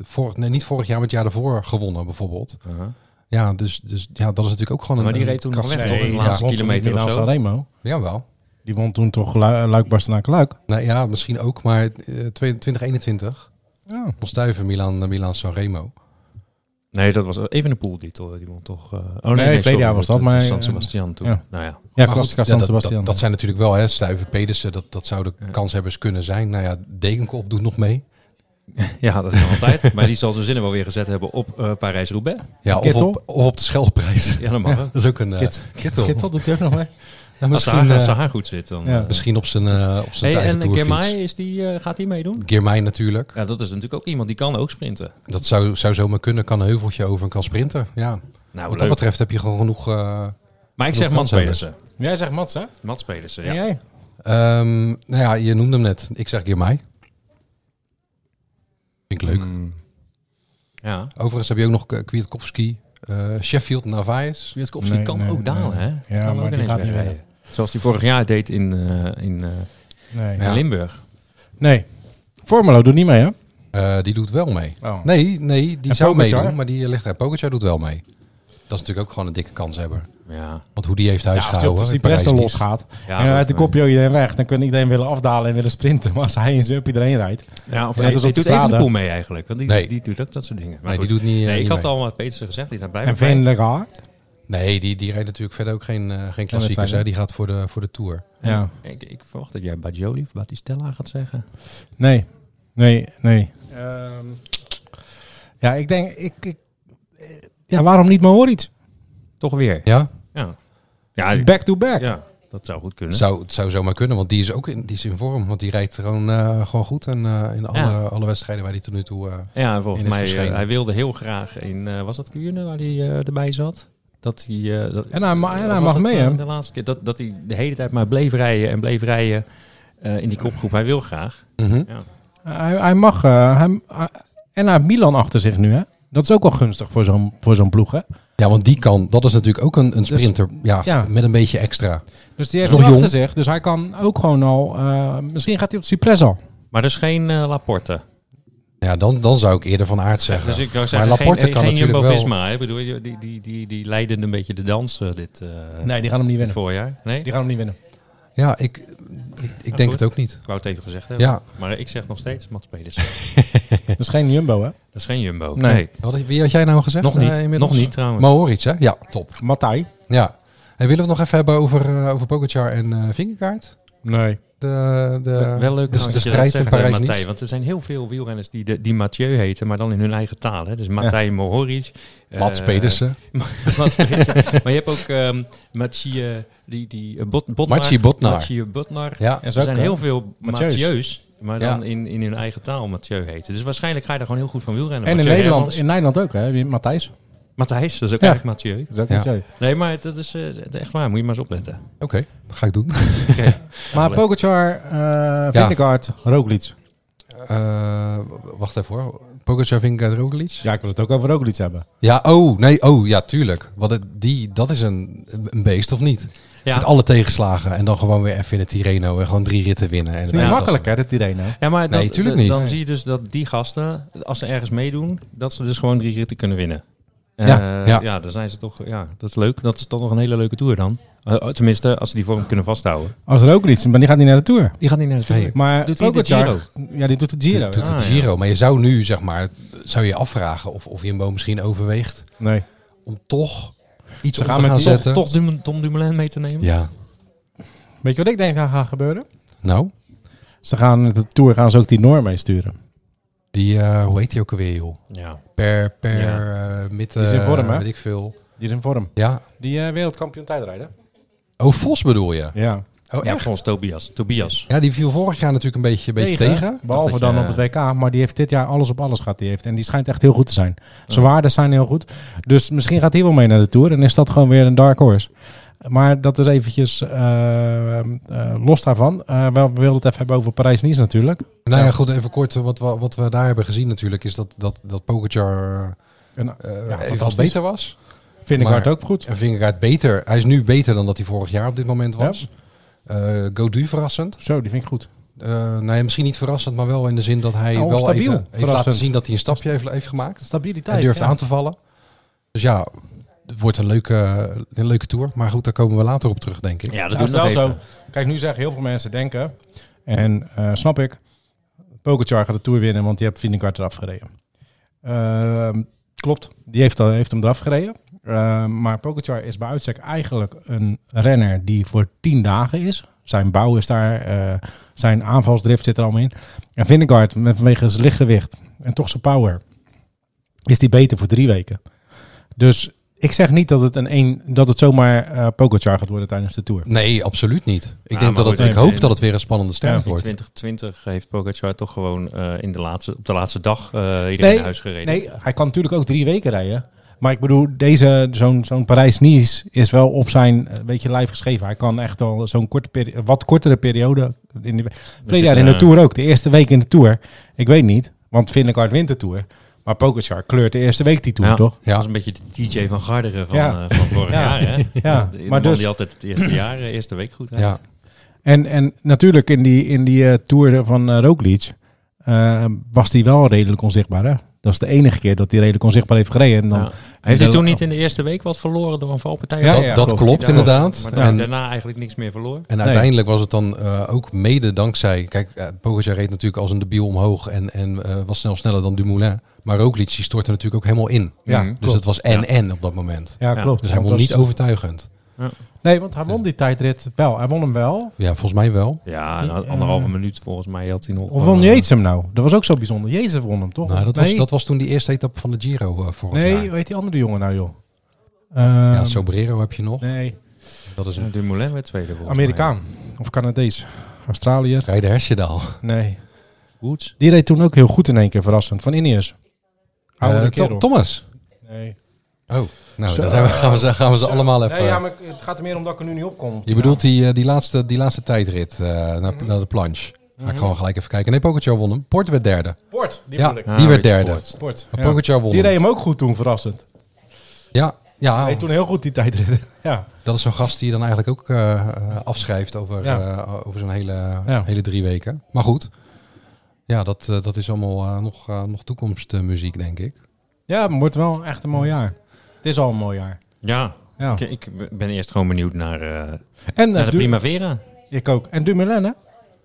[SPEAKER 1] vorig, nee, niet vorig jaar, maar het jaar daarvoor gewonnen bijvoorbeeld.
[SPEAKER 2] sprint. Aha.
[SPEAKER 1] Ja, dus, dus ja, dat is natuurlijk ook gewoon een
[SPEAKER 2] Maar die
[SPEAKER 1] een
[SPEAKER 2] reed toen nog
[SPEAKER 1] krachtsmiddel.
[SPEAKER 2] weg, toch?
[SPEAKER 1] Nee,
[SPEAKER 2] de laatste
[SPEAKER 1] ja,
[SPEAKER 2] kilometer
[SPEAKER 3] Milan
[SPEAKER 2] of zo.
[SPEAKER 3] Sanremo.
[SPEAKER 1] Jawel.
[SPEAKER 3] Die won toen toch Lu- Luik Bastenaak Luik.
[SPEAKER 1] Nou, ja, misschien ook, maar eh, 2021.
[SPEAKER 3] Ja.
[SPEAKER 1] Van Stuiven, Milan, Milan Sanremo.
[SPEAKER 2] Nee, dat was even een pool die, to- die won toch. eh, oh nee,
[SPEAKER 3] verleden
[SPEAKER 2] sorry,
[SPEAKER 3] jaar was dat,
[SPEAKER 2] het-
[SPEAKER 3] maar,
[SPEAKER 2] San
[SPEAKER 3] eh,
[SPEAKER 2] Sebastian toen.
[SPEAKER 3] ja.
[SPEAKER 2] Nou ja.
[SPEAKER 3] Ja,
[SPEAKER 1] Maar
[SPEAKER 3] Klassica
[SPEAKER 1] goed,
[SPEAKER 3] San
[SPEAKER 1] dat-
[SPEAKER 3] Sebastian.
[SPEAKER 1] Dat, dat zijn natuurlijk wel, hè, Stuiven Pedersen, dat, dat zouden
[SPEAKER 2] Ja.
[SPEAKER 1] kanshebbers kunnen zijn. Nou ja, Degenkop doet nog mee.
[SPEAKER 2] ja, dat kan altijd. maar die zal zijn zinnen wel weer gezet hebben op eh, Parijs-Roubaix.
[SPEAKER 1] Ja, of
[SPEAKER 3] Kittel?
[SPEAKER 1] op, of op de Scheldprijs.
[SPEAKER 2] Ja, dat mag. hè.
[SPEAKER 1] Dat is ook een... eh,
[SPEAKER 3] Kit-
[SPEAKER 1] Kittel.
[SPEAKER 3] Kittel doet hij ook nog mee.
[SPEAKER 1] Ja,
[SPEAKER 2] Als, ze
[SPEAKER 1] misschien,
[SPEAKER 2] haar, als ze
[SPEAKER 1] eh,
[SPEAKER 2] haar goed zit dan.
[SPEAKER 3] Ja.
[SPEAKER 2] eh.
[SPEAKER 1] misschien op zijn, eh op zijn
[SPEAKER 2] Hey,
[SPEAKER 1] eigen
[SPEAKER 2] en
[SPEAKER 1] toerfiets.
[SPEAKER 2] Germay, is die, eh, gaat die meedoen?
[SPEAKER 1] Girmay natuurlijk.
[SPEAKER 2] Ja, dat is natuurlijk ook iemand die kan ook sprinten.
[SPEAKER 1] Dat zou, zou zomaar kunnen. Kan een heuveltje over en kan sprinter. Ja.
[SPEAKER 2] Nou,
[SPEAKER 1] Wat dat
[SPEAKER 2] leuk.
[SPEAKER 1] betreft heb je gewoon genoeg... eh,
[SPEAKER 2] maar ik zeg
[SPEAKER 1] genoeg
[SPEAKER 2] Mats
[SPEAKER 1] kansen
[SPEAKER 2] Pedersen.
[SPEAKER 3] Jij zegt Mats, hè?
[SPEAKER 2] Mats Pedersen,
[SPEAKER 3] Ja.
[SPEAKER 2] ja.
[SPEAKER 3] Jij?
[SPEAKER 1] ehm, nou ja, je noemde hem net. Ik zeg Girmay. Vind ik
[SPEAKER 2] Mm.
[SPEAKER 1] leuk.
[SPEAKER 2] ja.
[SPEAKER 1] Overigens heb je ook nog eh, Kwiatkowski, eh, Sheffield, Narvaez.
[SPEAKER 2] Kwiatkowski
[SPEAKER 3] Nee,
[SPEAKER 2] kan
[SPEAKER 3] nee,
[SPEAKER 2] ook dalen,
[SPEAKER 3] nee.
[SPEAKER 2] hè?
[SPEAKER 3] Ja,
[SPEAKER 2] kan
[SPEAKER 3] maar
[SPEAKER 2] ook
[SPEAKER 3] die
[SPEAKER 2] ineens
[SPEAKER 3] gaat niet
[SPEAKER 2] wegrijden. Zoals hij vorig jaar deed in, eh, in, eh,
[SPEAKER 3] Nee.
[SPEAKER 1] Ja.
[SPEAKER 2] Limburg.
[SPEAKER 3] Nee. Formelo doet niet mee, hè?
[SPEAKER 1] Eh, die doet wel mee.
[SPEAKER 3] Oh.
[SPEAKER 1] Nee, nee, die
[SPEAKER 3] En
[SPEAKER 1] zou
[SPEAKER 3] Pogacar?
[SPEAKER 1] meedoen, maar die ligt er. Pogacar doet wel mee. Dat is natuurlijk ook gewoon een dikke kanshebber.
[SPEAKER 2] Ja.
[SPEAKER 1] Want hoe die heeft
[SPEAKER 3] Ja, als hij op
[SPEAKER 1] huisgehouden.
[SPEAKER 3] de
[SPEAKER 1] in Parijs
[SPEAKER 3] Cipressa
[SPEAKER 1] niet.
[SPEAKER 3] losgaat
[SPEAKER 2] Ja,
[SPEAKER 3] en
[SPEAKER 2] dat-
[SPEAKER 3] uit de kopje iedereen weg, dan kan iedereen willen afdalen en willen sprinten. Maar als hij in zijn up iedereen rijdt,
[SPEAKER 2] Ja, of
[SPEAKER 3] Ja,
[SPEAKER 2] hij,
[SPEAKER 3] dat is op
[SPEAKER 2] hij
[SPEAKER 3] de
[SPEAKER 2] doet even de
[SPEAKER 3] straat,
[SPEAKER 2] poel mee eigenlijk. Want die,
[SPEAKER 1] Nee.
[SPEAKER 2] die doet ook dat soort dingen. Maar
[SPEAKER 1] Nee,
[SPEAKER 2] goed.
[SPEAKER 1] die doet niet. eh,
[SPEAKER 2] nee, ik
[SPEAKER 1] niet
[SPEAKER 2] had
[SPEAKER 1] mee.
[SPEAKER 2] al met Petersen gezegd. Die gaat blijven.
[SPEAKER 3] en Van der Gaar.
[SPEAKER 1] Nee, die, die rijdt natuurlijk verder ook geen, eh, geen klassiekers.
[SPEAKER 3] wedstrijden.
[SPEAKER 1] Hè? Die gaat voor de, voor de Tour.
[SPEAKER 3] Ja.
[SPEAKER 2] Ik, ik verwacht dat jij Bajoli of Battistella gaat zeggen.
[SPEAKER 3] Nee, nee, nee. Ehm. ja, ik denk, ik, ik- eh, ja, waarom niet Mohoric?
[SPEAKER 2] Toch weer.
[SPEAKER 1] Ja,
[SPEAKER 2] Ja. Ja, ik-
[SPEAKER 3] Back to back.
[SPEAKER 2] ja dat zou goed
[SPEAKER 1] het
[SPEAKER 2] kunnen.
[SPEAKER 1] zou, het zou zomaar kunnen. Want die is ook in, die is in vorm. Want die rijdt gewoon, eh, gewoon goed. En eh, in alle,
[SPEAKER 2] Ja.
[SPEAKER 1] alle wedstrijden waar hij tot nu toe. eh,
[SPEAKER 2] Ja, en volgens
[SPEAKER 1] In het
[SPEAKER 2] mij, eh,
[SPEAKER 1] verschenen.
[SPEAKER 2] hij wilde heel graag in, eh, was dat Kuurne waar hij eh, erbij zat? Dat hij, eh, dat-
[SPEAKER 3] En hij ma- en
[SPEAKER 2] of
[SPEAKER 3] hij
[SPEAKER 1] nou,
[SPEAKER 2] was
[SPEAKER 3] mag
[SPEAKER 2] het,
[SPEAKER 3] mee,
[SPEAKER 2] eh,
[SPEAKER 3] hè?
[SPEAKER 2] De laatste keer dat, dat hij de hele tijd maar bleef rijden en bleef rijden eh, in die kopgroep. Hij wil graag.
[SPEAKER 1] mhm.
[SPEAKER 3] Hij, hij mag, eh, hij, hij- en hij heeft Milan achter zich nu, hè? Dat is ook wel gunstig voor zo'n, voor zo'n ploeg, hè?
[SPEAKER 1] Ja, want die kan. Dat is natuurlijk ook een, een
[SPEAKER 3] Dus-
[SPEAKER 1] sprinter. ja,
[SPEAKER 3] ja.
[SPEAKER 1] met een beetje extra.
[SPEAKER 3] Dus die heeft
[SPEAKER 1] Nog
[SPEAKER 3] hem achter
[SPEAKER 1] jong.
[SPEAKER 3] zich, dus hij kan ook gewoon al, eh, misschien gaat hij op de Cypress al.
[SPEAKER 2] Maar er is geen eh, Laporte.
[SPEAKER 1] Ja, dan, dan zou ik eerder van aard zeggen.
[SPEAKER 2] Dus ik zou zeggen,
[SPEAKER 1] maar Laporte
[SPEAKER 2] geen,
[SPEAKER 1] kan
[SPEAKER 2] geen
[SPEAKER 1] natuurlijk wel.
[SPEAKER 2] Jumbo-Visma. hè? Ik bedoel, die, die, die, die, die leiden een beetje de dans eh, dit, eh,
[SPEAKER 3] Nee, die gaan hem niet
[SPEAKER 2] dit
[SPEAKER 3] winnen.
[SPEAKER 2] voorjaar. Nee?
[SPEAKER 3] Die gaan hem niet winnen.
[SPEAKER 1] Ja, ik, ik denk
[SPEAKER 2] goed.
[SPEAKER 1] het ook niet.
[SPEAKER 2] Ik wou het even gezegd hebben.
[SPEAKER 1] Ja,
[SPEAKER 2] Maar ik zeg nog steeds Mats Pedersen.
[SPEAKER 3] Dat is geen Jumbo, hè?
[SPEAKER 2] Dat is geen Jumbo.
[SPEAKER 3] Nee.
[SPEAKER 1] wat, had- wie had jij nou gezegd?
[SPEAKER 2] Nog niet.
[SPEAKER 1] eh, inmiddels?
[SPEAKER 2] nog niet trouwens.
[SPEAKER 1] Mohoric, hè? Ja, top.
[SPEAKER 3] Matthij?
[SPEAKER 1] Ja. En willen we het nog even hebben over, eh, over Pogacar en eh Vingegaard?
[SPEAKER 3] Nee.
[SPEAKER 1] De, de,
[SPEAKER 2] Wel- wel leuk
[SPEAKER 1] de,
[SPEAKER 2] dat
[SPEAKER 1] eh, dus de
[SPEAKER 2] je dat
[SPEAKER 1] strijd in
[SPEAKER 2] zegt,
[SPEAKER 1] Parijs
[SPEAKER 2] eh, Matthij,
[SPEAKER 1] niet.
[SPEAKER 2] Want er zijn heel veel wielrenners die, de, die Mathieu heten, maar dan in hun eigen taal. Hè. Dus Matthij Mohoric. eh,
[SPEAKER 1] Mats Pedersen.
[SPEAKER 2] Mats Pedersen. maar je hebt ook ehm Mathieu, die, die eh, Bot, Botnar.
[SPEAKER 1] Mathieu Botnar.
[SPEAKER 2] Mathieu Botnar.
[SPEAKER 1] Ja.
[SPEAKER 3] En
[SPEAKER 2] Er zijn heel veel
[SPEAKER 3] Mathieu's.
[SPEAKER 2] Mathieu's, maar dan
[SPEAKER 1] Ja.
[SPEAKER 2] in, in hun eigen taal Mathieu heten. Dus waarschijnlijk ga je daar gewoon heel goed van wielrennen.
[SPEAKER 3] En in
[SPEAKER 2] Mathieu
[SPEAKER 3] Nederland,
[SPEAKER 2] Hermans.
[SPEAKER 3] in Nederland ook, hè? Matthijs.
[SPEAKER 2] Matthijs, dat is ook
[SPEAKER 3] Ja.
[SPEAKER 2] eigenlijk Mathieu.
[SPEAKER 3] Dat is ook
[SPEAKER 1] Ja.
[SPEAKER 3] Mathieu.
[SPEAKER 2] Nee, maar dat is eh, echt waar. Moet je maar eens opletten.
[SPEAKER 1] Oké, dat ga ik doen.
[SPEAKER 3] Maar
[SPEAKER 2] Allee.
[SPEAKER 3] Pogacar, eh Vingegaard, Roglic.
[SPEAKER 1] Eh, wacht even hoor. Pogacar, Vingegaard, Roglic? Ja.
[SPEAKER 3] Ja, ik wil het ook over Roglic hebben.
[SPEAKER 1] oh, nee, oh, ja, tuurlijk. Want het, die, dat is een, een beest, of niet?
[SPEAKER 2] Ja.
[SPEAKER 1] Met alle tegenslagen en dan gewoon weer even in het Tirreno en gewoon drie ritten winnen. En
[SPEAKER 3] Het is niet
[SPEAKER 1] ja,
[SPEAKER 3] makkelijk, hè, nou? dit Tirreno.
[SPEAKER 2] Ja, maar
[SPEAKER 1] Nee,
[SPEAKER 2] dat-
[SPEAKER 1] tuurlijk
[SPEAKER 2] dat-
[SPEAKER 1] niet.
[SPEAKER 2] dan zie je dus dat die gasten, als ze ergens meedoen, dat ze dus gewoon drie ritten kunnen winnen. Eh,
[SPEAKER 1] Ja,
[SPEAKER 2] ja,
[SPEAKER 1] ja.
[SPEAKER 2] dan zijn ze toch, ja, dat is leuk. Dat is toch nog een hele leuke tour dan. Eh, tenminste, als ze die vorm kunnen vasthouden.
[SPEAKER 3] Als Roglic, maar die gaat niet naar de Tour.
[SPEAKER 2] Die gaat niet naar de
[SPEAKER 1] Tour. Nee.
[SPEAKER 3] Maar
[SPEAKER 2] Doet hij de
[SPEAKER 3] Pogacar- Ja, die doet de Giro.
[SPEAKER 1] Doet
[SPEAKER 3] ja.
[SPEAKER 1] het
[SPEAKER 2] Ah, ja.
[SPEAKER 1] Giro. Maar je zou nu, zeg maar, zou je afvragen of, of Jumbo misschien overweegt
[SPEAKER 3] Nee.
[SPEAKER 1] om toch iets
[SPEAKER 3] Ze
[SPEAKER 1] op
[SPEAKER 3] gaan
[SPEAKER 1] te
[SPEAKER 3] met
[SPEAKER 1] gaan
[SPEAKER 3] die-
[SPEAKER 2] Toch,
[SPEAKER 1] zetten.
[SPEAKER 2] toch Dum- Tom Dumoulin mee te nemen?
[SPEAKER 1] Ja,
[SPEAKER 3] Weet je wat ik denk dat gaat gebeuren?
[SPEAKER 1] nou,
[SPEAKER 3] Ze gaan met de Tour gaan ze ook die Noor meesturen.
[SPEAKER 1] die, eh, hoe heet die ook alweer, joh?
[SPEAKER 2] Ja.
[SPEAKER 1] Per, per eh, midden,
[SPEAKER 3] Die is in vorm, hè?
[SPEAKER 1] weet ik veel.
[SPEAKER 3] Die is in vorm.
[SPEAKER 1] Ja.
[SPEAKER 3] Die eh, wereldkampioen tijdrijden.
[SPEAKER 1] Oh, Vos bedoel je?
[SPEAKER 3] Ja.
[SPEAKER 1] Oh,
[SPEAKER 2] Ja,
[SPEAKER 1] echt?
[SPEAKER 2] volgens Tobias. Tobias.
[SPEAKER 1] Ja, die viel vorig jaar natuurlijk een beetje, een beetje tegen.
[SPEAKER 3] Behalve
[SPEAKER 2] Dacht dat
[SPEAKER 3] dan
[SPEAKER 2] je-
[SPEAKER 3] op het
[SPEAKER 1] eh,
[SPEAKER 3] WK. Maar die heeft dit jaar alles op alles gehad. Die heeft. En die schijnt echt heel goed te zijn. Zijn waarden zijn heel goed. Dus misschien gaat hij wel mee naar de Tour. En is dat gewoon weer een dark horse. Maar dat is eventjes eh, eh, los daarvan. Eh, wel, we wilden het even hebben over Parijs-Nice natuurlijk.
[SPEAKER 1] Nou ja,
[SPEAKER 3] Ja.
[SPEAKER 1] goed, even kort. eh, Wat we, wat we daar hebben gezien natuurlijk is dat, dat, dat Pogacar
[SPEAKER 3] En
[SPEAKER 1] eh
[SPEAKER 3] Ja,
[SPEAKER 1] evenals
[SPEAKER 3] fantastisch.
[SPEAKER 1] beter was.
[SPEAKER 3] vind ik
[SPEAKER 1] Maar-
[SPEAKER 3] hard ook goed.
[SPEAKER 1] En Vingegaard beter. Hij is nu beter dan dat hij vorig jaar op dit moment was. Eh Godu verrassend.
[SPEAKER 3] Zo, die vind ik goed.
[SPEAKER 1] Eh nee, misschien niet verrassend, maar wel in de zin dat hij
[SPEAKER 3] Nou,
[SPEAKER 1] wel
[SPEAKER 3] stabiel
[SPEAKER 1] even heeft laten
[SPEAKER 3] verrassend.
[SPEAKER 1] zien dat hij een stapje heeft, heeft gemaakt.
[SPEAKER 3] Stabiliteit.
[SPEAKER 1] Hij durft
[SPEAKER 3] ja.
[SPEAKER 1] aan te vallen. Dus ja, het wordt een leuke, een leuke tour. Maar goed, daar komen we later op terug, denk ik.
[SPEAKER 2] Ja, dat
[SPEAKER 3] Nou,
[SPEAKER 2] doet nog
[SPEAKER 3] is wel
[SPEAKER 2] even.
[SPEAKER 3] zo. Kijk, nu zeggen heel veel mensen denken, en eh, snap ik, Pogacar gaat de Tour winnen, want die heeft Vindegaard eraf gereden. Ehm, klopt, die heeft, al- heeft hem eraf gereden. Ehm, maar Pogacar is bij uitstek eigenlijk een renner die voor tien dagen is. Zijn bouw is daar, eh, zijn aanvalsdrift zit er allemaal in. En Vindegaard, met vanwege zijn lichtgewicht en toch zijn power, is die beter voor drie weken. Dus ik zeg niet dat het, een een, dat het zomaar eh Pogacar gaat worden tijdens de Tour.
[SPEAKER 1] Nee, absoluut niet. Ik,
[SPEAKER 2] Ja,
[SPEAKER 1] denk
[SPEAKER 2] maar
[SPEAKER 1] dat het,
[SPEAKER 2] goed,
[SPEAKER 1] ik
[SPEAKER 2] even
[SPEAKER 1] hoop
[SPEAKER 2] in-
[SPEAKER 1] dat het weer een spannende sterk
[SPEAKER 3] Ja,
[SPEAKER 2] In
[SPEAKER 1] wordt.
[SPEAKER 2] 2020 heeft Pogacar toch gewoon eh, in de laatste, op de laatste dag eh iedereen
[SPEAKER 3] Nee,
[SPEAKER 2] naar huis gereden.
[SPEAKER 3] Nee, hij kan natuurlijk ook drie weken rijden. Maar ik bedoel, deze, zo'n, zo'n Parijs-Nice is wel op zijn eh, beetje lijf geschreven. Hij kan echt al zo'n korte peri- wat kortere periode. In de, verleden jaar in de
[SPEAKER 2] eh,
[SPEAKER 3] Tour ook. De eerste week in de Tour. Ik weet niet, want Vindegaard wint de Tour. Maar Pogacar kleurt de eerste week die Tour,
[SPEAKER 2] Ja.
[SPEAKER 3] toch?
[SPEAKER 1] Ja.
[SPEAKER 2] Dat is een beetje de DJ van Garderen van,
[SPEAKER 3] Ja.
[SPEAKER 2] eh, van vorig
[SPEAKER 3] Ja.
[SPEAKER 2] jaar. Hè?
[SPEAKER 3] Ja,
[SPEAKER 2] De- de
[SPEAKER 3] maar
[SPEAKER 2] man
[SPEAKER 3] dus-
[SPEAKER 2] die altijd het eerste jaar, eh, eerste week goed rijdt.
[SPEAKER 1] Ja.
[SPEAKER 3] En, en natuurlijk in die, in die eh, Tour van eh Roglic eh, was hij wel redelijk onzichtbaar. Hè? Dat is de enige keer dat hij redelijk onzichtbaar heeft gereden. En dan,
[SPEAKER 2] Ja. Heeft hij
[SPEAKER 3] de-
[SPEAKER 2] toen niet in de eerste week wat verloren door een valpartij?
[SPEAKER 3] Ja,
[SPEAKER 1] dat
[SPEAKER 3] ja,
[SPEAKER 1] dat
[SPEAKER 3] klopt.
[SPEAKER 1] klopt
[SPEAKER 2] Ja,
[SPEAKER 1] inderdaad.
[SPEAKER 2] Maar
[SPEAKER 1] en,
[SPEAKER 2] daarna eigenlijk niks meer verloren.
[SPEAKER 1] en uiteindelijk was het dan eh, ook mede dankzij... Kijk, eh, Pogacar reed natuurlijk als een debiel omhoog en, en eh, was snel sneller dan Dumoulin. Maar Roglic die stortte natuurlijk ook helemaal in.
[SPEAKER 3] Ja,
[SPEAKER 2] Mhm.
[SPEAKER 1] Dus
[SPEAKER 3] klopt.
[SPEAKER 1] het was en-en op dat moment.
[SPEAKER 3] ja,
[SPEAKER 2] Ja.
[SPEAKER 3] klopt.
[SPEAKER 1] Dus hij
[SPEAKER 3] Want
[SPEAKER 1] was niet
[SPEAKER 3] dat-
[SPEAKER 1] overtuigend.
[SPEAKER 3] Nee, want hij won die tijdrit wel. Hij won hem wel.
[SPEAKER 1] Ja, volgens mij wel.
[SPEAKER 2] Ja, na anderhalve minuut volgens mij had hij nog.
[SPEAKER 3] Of won Jezus hem nou? Dat was ook zo bijzonder. Jezus won hem, toch?
[SPEAKER 1] Nou,
[SPEAKER 3] Of-
[SPEAKER 1] dat,
[SPEAKER 3] nee,
[SPEAKER 1] was, dat was toen die eerste etappe van de Giro eh vorig
[SPEAKER 3] nee,
[SPEAKER 1] jaar.
[SPEAKER 3] weet die andere jongen nou, joh?
[SPEAKER 1] Ja,
[SPEAKER 3] Ehm,
[SPEAKER 1] Sobrero heb je nog.
[SPEAKER 3] Nee,
[SPEAKER 1] Dat is een
[SPEAKER 2] Dumoulin werd tweede volgens
[SPEAKER 3] Amerikaan. Of Canadees. Australiër.
[SPEAKER 1] rijder Hersjedaal.
[SPEAKER 3] Nee.
[SPEAKER 2] mij. Woods.
[SPEAKER 3] Die reed toen ook heel goed in één keer, verrassend. Van Ineos. Oude
[SPEAKER 1] Eh,
[SPEAKER 3] kerel.
[SPEAKER 1] Tom- Thomas.
[SPEAKER 3] Nee.
[SPEAKER 1] Oh, nou,
[SPEAKER 3] Zo.
[SPEAKER 1] dan zijn we, gaan we ze, gaan we ze allemaal even... eh,
[SPEAKER 3] Nee, ja, maar ik- het gaat er meer om dat ik er nu niet op kom.
[SPEAKER 1] Je bedoelt die, eh, die, laatste, die laatste tijdrit eh, naar,
[SPEAKER 3] Mhm.
[SPEAKER 1] naar de planche. Ga ik gewoon gelijk even kijken. Nee, Pogacar won hem. Port werd derde.
[SPEAKER 3] Ja. Port, Mhm. die
[SPEAKER 1] ja,
[SPEAKER 3] bedoel ik.
[SPEAKER 1] die
[SPEAKER 2] Ah,
[SPEAKER 1] werd
[SPEAKER 2] Richard
[SPEAKER 1] derde.
[SPEAKER 3] Port.
[SPEAKER 1] Maar
[SPEAKER 3] ja.
[SPEAKER 1] Pogacar won
[SPEAKER 3] Die
[SPEAKER 1] hem.
[SPEAKER 3] reed hem ook goed toen, verrassend.
[SPEAKER 1] Ja, ja
[SPEAKER 3] Hij reed toen heel goed die tijdrit. ja.
[SPEAKER 1] dat is zo'n gast die je dan eigenlijk ook eh, eh, afschrijft over,
[SPEAKER 3] Ja.
[SPEAKER 1] eh, over zo'n hele,
[SPEAKER 3] Ja.
[SPEAKER 1] hele drie weken. Maar goed, ja, dat, eh, dat is allemaal eh, nog, eh, nog toekomstmuziek, denk ik.
[SPEAKER 3] ja, maar het wordt wel echt een mooi jaar. Het is al een mooi jaar.
[SPEAKER 2] Ja,
[SPEAKER 3] Ja.
[SPEAKER 1] Oh. Nou,
[SPEAKER 2] ik, ik ben eerst gewoon benieuwd naar, eh,
[SPEAKER 3] En
[SPEAKER 2] naar
[SPEAKER 3] eh,
[SPEAKER 2] de
[SPEAKER 3] Du-
[SPEAKER 2] Primavera.
[SPEAKER 3] ik ook. En Dumoulin, hè?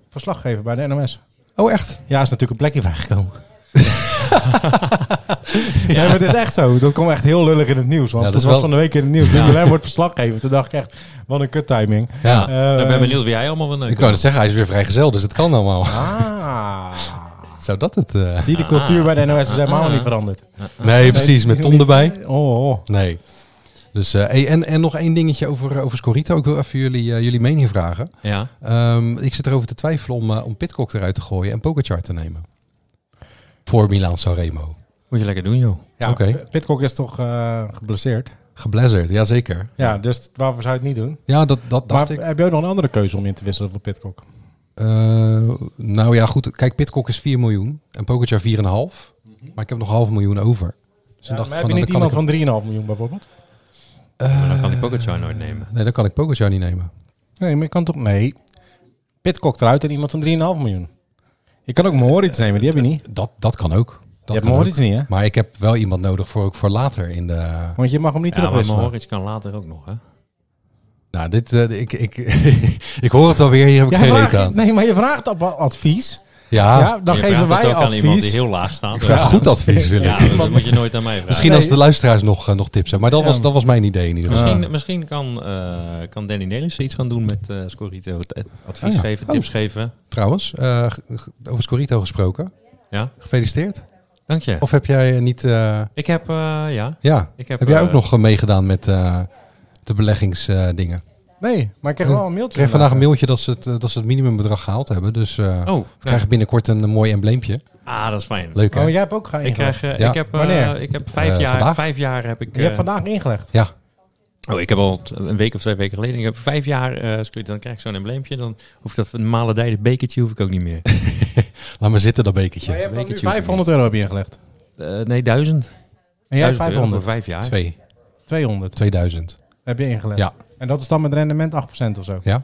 [SPEAKER 3] verslaggever bij de NOS.
[SPEAKER 1] Oh, echt?
[SPEAKER 3] Ja, is natuurlijk een plekje vrijgekomen. ja, maar het is echt zo. Dat komt echt heel lullig in het nieuws. Want
[SPEAKER 1] Ja, dat
[SPEAKER 3] het
[SPEAKER 1] is
[SPEAKER 3] was
[SPEAKER 1] wel-
[SPEAKER 3] van de week in het nieuws. Ja. wordt verslaggever. Toen dacht ik echt, wat een kut timing.
[SPEAKER 1] Ja.
[SPEAKER 3] Eh,
[SPEAKER 2] ik ben benieuwd wie jij allemaal wil neuken.
[SPEAKER 1] ik wou net zeggen, hij is weer vrijgezel, dus het kan allemaal.
[SPEAKER 3] Ah.
[SPEAKER 1] Zou dat het... eh,
[SPEAKER 3] Zie, de cultuur bij de NOS is helemaal niet veranderd.
[SPEAKER 1] Ah, Nee, precies, met Tom erbij.
[SPEAKER 3] Oh, oh.
[SPEAKER 1] Nee. Dus, eh, hey, en, en nog één dingetje over, eh, over Scorito. Ik wil even jullie, eh, jullie mening vragen.
[SPEAKER 2] Ja.
[SPEAKER 1] Ehm, ik zit erover te twijfelen om, eh, om Pitcock eruit te gooien en Pogacar te nemen. Voor Milan Sanremo.
[SPEAKER 2] Moet je lekker doen, joh.
[SPEAKER 3] Ja,
[SPEAKER 1] Oké.
[SPEAKER 3] Pitcock is toch eh, geblesseerd.
[SPEAKER 1] Geblazzard, jazeker.
[SPEAKER 3] Ja, dus waarvoor zou je het niet doen?
[SPEAKER 1] Ja, dat, dat dacht
[SPEAKER 3] Maar
[SPEAKER 1] ik.
[SPEAKER 3] heb je ook nog een andere keuze om in te wisselen voor Pitcock?
[SPEAKER 1] Eh, nou ja, goed. Kijk, Pitcock is 4 miljoen en Pogacar 4,5. Maar ik heb nog half miljoen over. Dus
[SPEAKER 3] Mhm. Ja,
[SPEAKER 1] toen dacht ik
[SPEAKER 3] maar heb
[SPEAKER 1] van,
[SPEAKER 3] je
[SPEAKER 1] nou,
[SPEAKER 3] niet
[SPEAKER 1] dan kan
[SPEAKER 3] iemand
[SPEAKER 1] ik...
[SPEAKER 3] van 3,5 miljoen bijvoorbeeld?
[SPEAKER 1] Eh,
[SPEAKER 2] Maar dan kan die Pogacar nooit nemen.
[SPEAKER 1] Nee, dan kan ik Pogacar niet nemen.
[SPEAKER 3] Nee, maar je kan toch... Nee. Pitcock eruit en iemand van 3,5 miljoen. Je kan ook Mohoric nemen, die heb je niet.
[SPEAKER 1] Dat, dat kan ook.
[SPEAKER 3] je
[SPEAKER 1] Dat
[SPEAKER 3] hebt
[SPEAKER 1] kan ook.
[SPEAKER 3] Mohoric niet, hè?
[SPEAKER 1] Maar ik heb wel iemand nodig voor, ook voor later in de...
[SPEAKER 3] Want je mag hem niet
[SPEAKER 2] Ja, maar
[SPEAKER 3] terugwisselen.
[SPEAKER 2] Mohoric kan later ook nog, hè?
[SPEAKER 1] Nou, dit, eh, ik, ik, ik hoor het alweer, hier heb ik
[SPEAKER 3] Jij
[SPEAKER 1] geen
[SPEAKER 3] vraagt-
[SPEAKER 1] reet aan.
[SPEAKER 3] nee, maar je vraagt op advies.
[SPEAKER 1] Ja,
[SPEAKER 3] ja, dan
[SPEAKER 2] Ah. Je
[SPEAKER 3] geven
[SPEAKER 2] vraagt dat
[SPEAKER 3] wij
[SPEAKER 2] ook aan iemand die
[SPEAKER 3] advies.
[SPEAKER 2] heel laag staat.
[SPEAKER 1] ik zou
[SPEAKER 2] Ja,
[SPEAKER 1] goed advies willen.
[SPEAKER 2] Ja, dat moet je nooit aan mij vragen.
[SPEAKER 1] Misschien als de luisteraars nog, eh, nog tips hebben. Maar dat,
[SPEAKER 3] Ja.
[SPEAKER 1] was, dat was mijn idee in ieder geval.
[SPEAKER 2] Misschien, misschien kan, eh, kan Danny Nelissen iets gaan doen met eh Scorito. Het- het Advies
[SPEAKER 1] Oh ja.
[SPEAKER 2] geven,
[SPEAKER 1] Oh.
[SPEAKER 2] tips geven.
[SPEAKER 1] Trouwens, eh, g- g- over Scorito gesproken.
[SPEAKER 2] Ja,
[SPEAKER 1] Gefeliciteerd.
[SPEAKER 2] dank je.
[SPEAKER 1] Of heb jij eh, niet... eh,
[SPEAKER 2] Ik heb, eh, ja.
[SPEAKER 1] ja,
[SPEAKER 2] Ik
[SPEAKER 1] heb jij
[SPEAKER 2] eh,
[SPEAKER 1] ook nog eh, meegedaan met eh, de beleggingsdingen?
[SPEAKER 3] Nee, maar ik kreeg wel een mailtje.
[SPEAKER 1] ik kreeg vandaag een mailtje dat ze het, eh, dat ze het minimumbedrag gehaald hebben. Dus eh we
[SPEAKER 2] Oh, krijg...
[SPEAKER 1] krijgen binnenkort een eh, mooi embleempje.
[SPEAKER 2] ah, dat is fijn.
[SPEAKER 1] Leuk hè?
[SPEAKER 3] Oh, jij hebt ook gaan
[SPEAKER 2] Ik,
[SPEAKER 3] ingelegd.
[SPEAKER 2] krijg, eh,
[SPEAKER 1] Ja.
[SPEAKER 2] ik, heb, eh,
[SPEAKER 3] Wanneer?
[SPEAKER 2] ik heb vijf
[SPEAKER 1] Eh,
[SPEAKER 2] jaar,
[SPEAKER 1] vandaag?
[SPEAKER 2] vijf jaar heb ik...
[SPEAKER 3] Je hebt
[SPEAKER 2] eh,
[SPEAKER 3] vandaag ingelegd.
[SPEAKER 1] Ja,
[SPEAKER 2] Oh, ik heb al t- een week of twee weken geleden. Ik heb vijf jaar eh Scorito. Dan krijg ik zo'n embleempje. Dan hoef ik dat normale dijden bekertje hoef ik ook niet meer.
[SPEAKER 1] laat maar zitten dat bekertje.
[SPEAKER 3] Maar je hebt dan nu
[SPEAKER 2] Bekertje hoef ik
[SPEAKER 3] 500 euro heb je ingelegd.
[SPEAKER 2] Eh, nee, duizend.
[SPEAKER 3] En jij hebt
[SPEAKER 2] Duizend euro
[SPEAKER 3] 500.
[SPEAKER 2] voor vijf jaar.
[SPEAKER 1] Twee.
[SPEAKER 3] 200
[SPEAKER 1] 2000.
[SPEAKER 3] heb je ingelegd.
[SPEAKER 1] Ja.
[SPEAKER 3] En dat is dan met rendement 8% of zo.
[SPEAKER 1] Ja.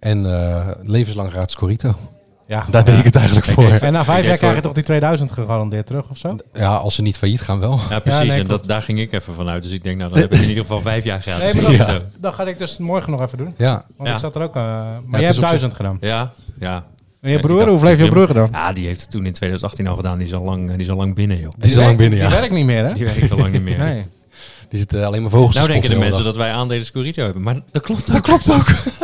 [SPEAKER 1] En eh, levenslang raad Scorito.
[SPEAKER 3] Ja.
[SPEAKER 1] Daar deed ik het eigenlijk voor.
[SPEAKER 3] En na vijf
[SPEAKER 2] deed
[SPEAKER 3] jaar krijg je
[SPEAKER 2] voor-
[SPEAKER 3] toch die 2000 gegarandeerd terug of zo?
[SPEAKER 1] Ja, als ze niet failliet gaan wel.
[SPEAKER 2] Ja, precies.
[SPEAKER 3] nee,
[SPEAKER 2] en dat, daar ging ik even vanuit. Dus ik denk, nou, dan heb ik in ieder geval vijf jaar
[SPEAKER 3] Nee,
[SPEAKER 2] gratis.
[SPEAKER 3] maar dat,
[SPEAKER 2] ja.
[SPEAKER 3] dat ga ik dus morgen nog even doen.
[SPEAKER 1] Ja.
[SPEAKER 3] Want
[SPEAKER 2] Ja.
[SPEAKER 3] ik zat er ook... eh, maar
[SPEAKER 1] is
[SPEAKER 3] jij
[SPEAKER 1] op
[SPEAKER 3] hebt
[SPEAKER 1] zich-
[SPEAKER 3] 1000 gedaan.
[SPEAKER 2] ja, ja.
[SPEAKER 3] En je
[SPEAKER 2] Ja,
[SPEAKER 3] broer,
[SPEAKER 2] ik dacht-
[SPEAKER 3] hoe heeft je
[SPEAKER 2] ik-
[SPEAKER 3] broer gedaan?
[SPEAKER 2] Ja, die heeft het toen in 2018 al gedaan. Die is al lang, die is al lang binnen, joh.
[SPEAKER 1] Die is al lang binnen, ja.
[SPEAKER 3] Die werkt niet meer, hè?
[SPEAKER 2] Die werkt al lang niet meer.
[SPEAKER 3] Nee.
[SPEAKER 1] Die zitten alleen maar vogels
[SPEAKER 2] Nou
[SPEAKER 1] te
[SPEAKER 2] denken de
[SPEAKER 1] spotten
[SPEAKER 2] mensen
[SPEAKER 1] hele
[SPEAKER 2] dat wij aandelen Scorito hebben. Maar dat klopt
[SPEAKER 1] dag.
[SPEAKER 2] ook.
[SPEAKER 1] Dat klopt ook.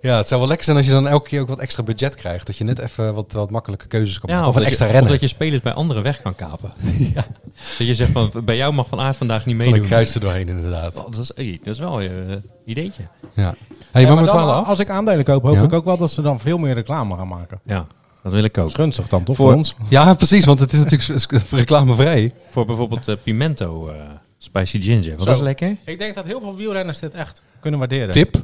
[SPEAKER 1] ja, het zou wel lekker zijn als je dan elke keer ook wat extra budget krijgt. Dat je net even wat, wat makkelijke keuzes kan maken. Of,
[SPEAKER 2] dat
[SPEAKER 1] een extra
[SPEAKER 2] je,
[SPEAKER 1] rennen.
[SPEAKER 2] Of dat je spelers bij anderen weg kan kapen. Dat je zegt van, bij jou mag Van Aert vandaag niet
[SPEAKER 1] Van een
[SPEAKER 2] meedoen.
[SPEAKER 1] kruis er doorheen inderdaad.
[SPEAKER 2] Oh, dat, is, hey, dat is wel eh, een ideetje.
[SPEAKER 1] Ja. Hey,
[SPEAKER 3] Ja,
[SPEAKER 1] maar
[SPEAKER 3] maar
[SPEAKER 1] we
[SPEAKER 3] dan,
[SPEAKER 1] dwalen af.
[SPEAKER 3] Als ik aandelen koop, hoop
[SPEAKER 1] Ja.
[SPEAKER 3] ik ook wel dat ze dan veel meer reclame gaan maken.
[SPEAKER 2] Ja, dat wil ik ook.
[SPEAKER 3] Gunstig dan, toch?
[SPEAKER 2] Voor-
[SPEAKER 3] Voor ons.
[SPEAKER 1] Ja, precies, want het is natuurlijk s- s- reclamevrij.
[SPEAKER 2] Voor bijvoorbeeld eh, pimento eh, spicy ginger. Want
[SPEAKER 3] Zo.
[SPEAKER 2] dat is lekker.
[SPEAKER 3] Ik denk dat heel veel wielrenners dit echt kunnen waarderen.
[SPEAKER 1] Tip,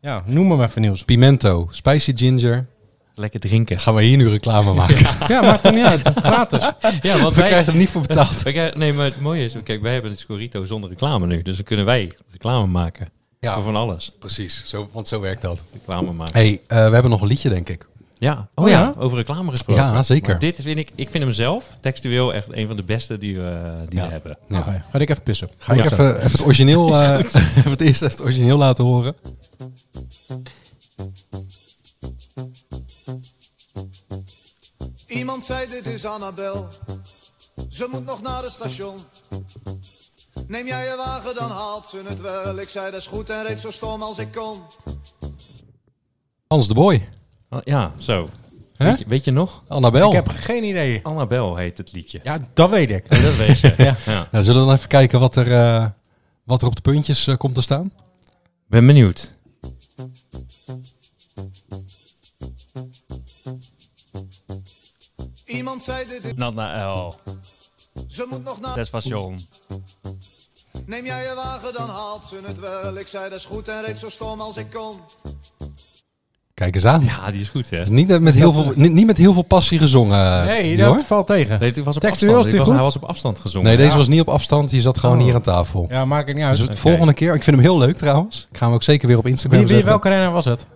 [SPEAKER 3] Ja, noem hem even nieuws.
[SPEAKER 1] pimento, spicy ginger.
[SPEAKER 2] Lekker drinken.
[SPEAKER 1] Gaan we hier nu reclame maken?
[SPEAKER 3] Ja, maakt er niet uit. Gratis.
[SPEAKER 2] Ja, want
[SPEAKER 1] We
[SPEAKER 2] wij,
[SPEAKER 1] krijgen er niet voor betaald.
[SPEAKER 2] wij krijgen- nee, maar het mooie is, kijk, wij hebben het Scorito zonder reclame nu. Dus dan kunnen wij reclame maken.
[SPEAKER 1] Ja.
[SPEAKER 2] Voor van alles.
[SPEAKER 1] Precies, zo, want zo werkt dat.
[SPEAKER 2] Reclame maken.
[SPEAKER 1] hey, eh, we hebben nog een liedje, denk ik.
[SPEAKER 2] Ja, oh,
[SPEAKER 3] Oh
[SPEAKER 2] ja.
[SPEAKER 3] ja?
[SPEAKER 2] over reclame gesproken.
[SPEAKER 1] Ja, zeker.
[SPEAKER 2] Maar dit vind ik, ik vind hem zelf textueel echt een van de beste die we, eh, die we hebben.
[SPEAKER 1] Ja.
[SPEAKER 3] Oké, ga ik even pissen.
[SPEAKER 1] Ga ik
[SPEAKER 2] Ja.
[SPEAKER 1] even, even het origineel, eh, even het eerst even het origineel laten horen.
[SPEAKER 4] Iemand zei dit is Annabel. Ze moet nog naar het station. Neem jij je wagen, dan haalt ze het wel. Ik zei dat is goed en reed zo stom als ik kon.
[SPEAKER 1] Hans de Boy,
[SPEAKER 2] Ah, Ja, zo.
[SPEAKER 1] Hè?
[SPEAKER 2] Weet je, weet je nog?
[SPEAKER 1] Annabel.
[SPEAKER 3] Ik heb geen idee.
[SPEAKER 2] Annabel heet het liedje.
[SPEAKER 3] Ja, dat weet ik.
[SPEAKER 2] Dat weet je. ja. Ja.
[SPEAKER 1] Nou, zullen we dan even kijken wat er, eh, wat er op de puntjes eh, komt te staan?
[SPEAKER 2] Ben benieuwd.
[SPEAKER 4] Iemand zei dit is...
[SPEAKER 2] Nanael,
[SPEAKER 4] Ze moet nog naar...
[SPEAKER 2] Despation.
[SPEAKER 4] Neem jij je wagen, dan haalt ze het wel. Ik zei dat is goed en reed zo stom als ik kon.
[SPEAKER 1] Kijk eens aan.
[SPEAKER 2] Ja, die is goed, hè?
[SPEAKER 1] Dus niet, eh, met heel veel, niet, niet met heel veel passie gezongen. eh,
[SPEAKER 3] Nee,
[SPEAKER 1] hoor.
[SPEAKER 3] dat valt tegen.
[SPEAKER 2] Nee, dit was op
[SPEAKER 3] Textueel
[SPEAKER 2] afstand.
[SPEAKER 3] is die
[SPEAKER 2] Dit was,
[SPEAKER 3] goed?
[SPEAKER 2] hij was op afstand gezongen.
[SPEAKER 1] nee, deze was niet op afstand. Je zat gewoon hier aan tafel.
[SPEAKER 3] Oh. Ja, maakt het niet uit.
[SPEAKER 1] Dus de volgende keer, ik vind hem heel leuk trouwens. Ik ga hem ook zeker weer op Instagram
[SPEAKER 3] wie, wie,
[SPEAKER 1] zetten.
[SPEAKER 3] welke renner was het?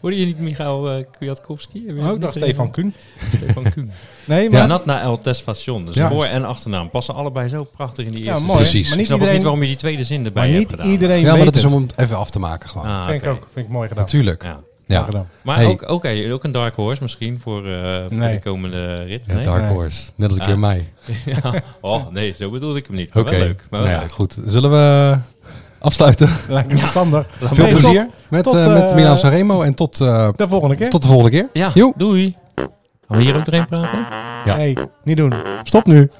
[SPEAKER 2] Hoorde je niet Michael eh, Kwiatkowski?
[SPEAKER 3] Oh, ik dacht Stefan Kuhn.
[SPEAKER 2] Stefan Kuhn.
[SPEAKER 3] Nee, maar...
[SPEAKER 2] Ja, nou, nat naar El Testation. Dus
[SPEAKER 3] Ja.
[SPEAKER 2] voor- en achternaam passen allebei zo prachtig in die
[SPEAKER 3] Ja,
[SPEAKER 2] eerste
[SPEAKER 3] mooi.
[SPEAKER 2] zin.
[SPEAKER 1] Precies.
[SPEAKER 3] Maar
[SPEAKER 2] Ik
[SPEAKER 3] niet
[SPEAKER 2] snap ook niet
[SPEAKER 3] iedereen,
[SPEAKER 2] waarom je die tweede zin erbij
[SPEAKER 3] maar
[SPEAKER 2] hebt
[SPEAKER 3] niet
[SPEAKER 2] gedaan.
[SPEAKER 3] iedereen
[SPEAKER 1] Ja,
[SPEAKER 3] weet
[SPEAKER 1] maar dat is
[SPEAKER 3] het.
[SPEAKER 1] om hem even af te maken gewoon.
[SPEAKER 2] Ah,
[SPEAKER 3] Vind ik
[SPEAKER 2] oké.
[SPEAKER 3] ook. Vind ik mooi gedaan.
[SPEAKER 1] Natuurlijk. Ja.
[SPEAKER 2] Ja.
[SPEAKER 3] Mooi gedaan.
[SPEAKER 2] Maar
[SPEAKER 1] Hey.
[SPEAKER 2] ook, oké, ook een dark horse misschien voor, eh, voor
[SPEAKER 3] Nee.
[SPEAKER 2] de komende rit.
[SPEAKER 1] Ja,
[SPEAKER 2] Nee?
[SPEAKER 1] Dark
[SPEAKER 3] Nee.
[SPEAKER 1] Horse. Net als ik
[SPEAKER 2] Ah.
[SPEAKER 1] weer mij.
[SPEAKER 2] Ja. Oh nee, zo bedoelde ik hem niet.
[SPEAKER 1] Oké.
[SPEAKER 2] Maar wel leuk. Maar wel
[SPEAKER 1] Nou ja,
[SPEAKER 2] leuk.
[SPEAKER 1] goed. Zullen we eh, afsluiten?
[SPEAKER 3] Lijkt me verstandig.
[SPEAKER 1] Veel
[SPEAKER 3] Nee, tot-
[SPEAKER 1] plezier met,
[SPEAKER 3] tot,
[SPEAKER 1] eh, met
[SPEAKER 3] eh,
[SPEAKER 1] Milan Sanremo. En tot, eh,
[SPEAKER 3] De volgende keer.
[SPEAKER 1] tot de volgende keer.
[SPEAKER 2] Ja,
[SPEAKER 1] Joe.
[SPEAKER 2] doei. Gaan we hier ook doorheen praten?
[SPEAKER 1] Ja.
[SPEAKER 3] Nee, niet doen. Stop nu.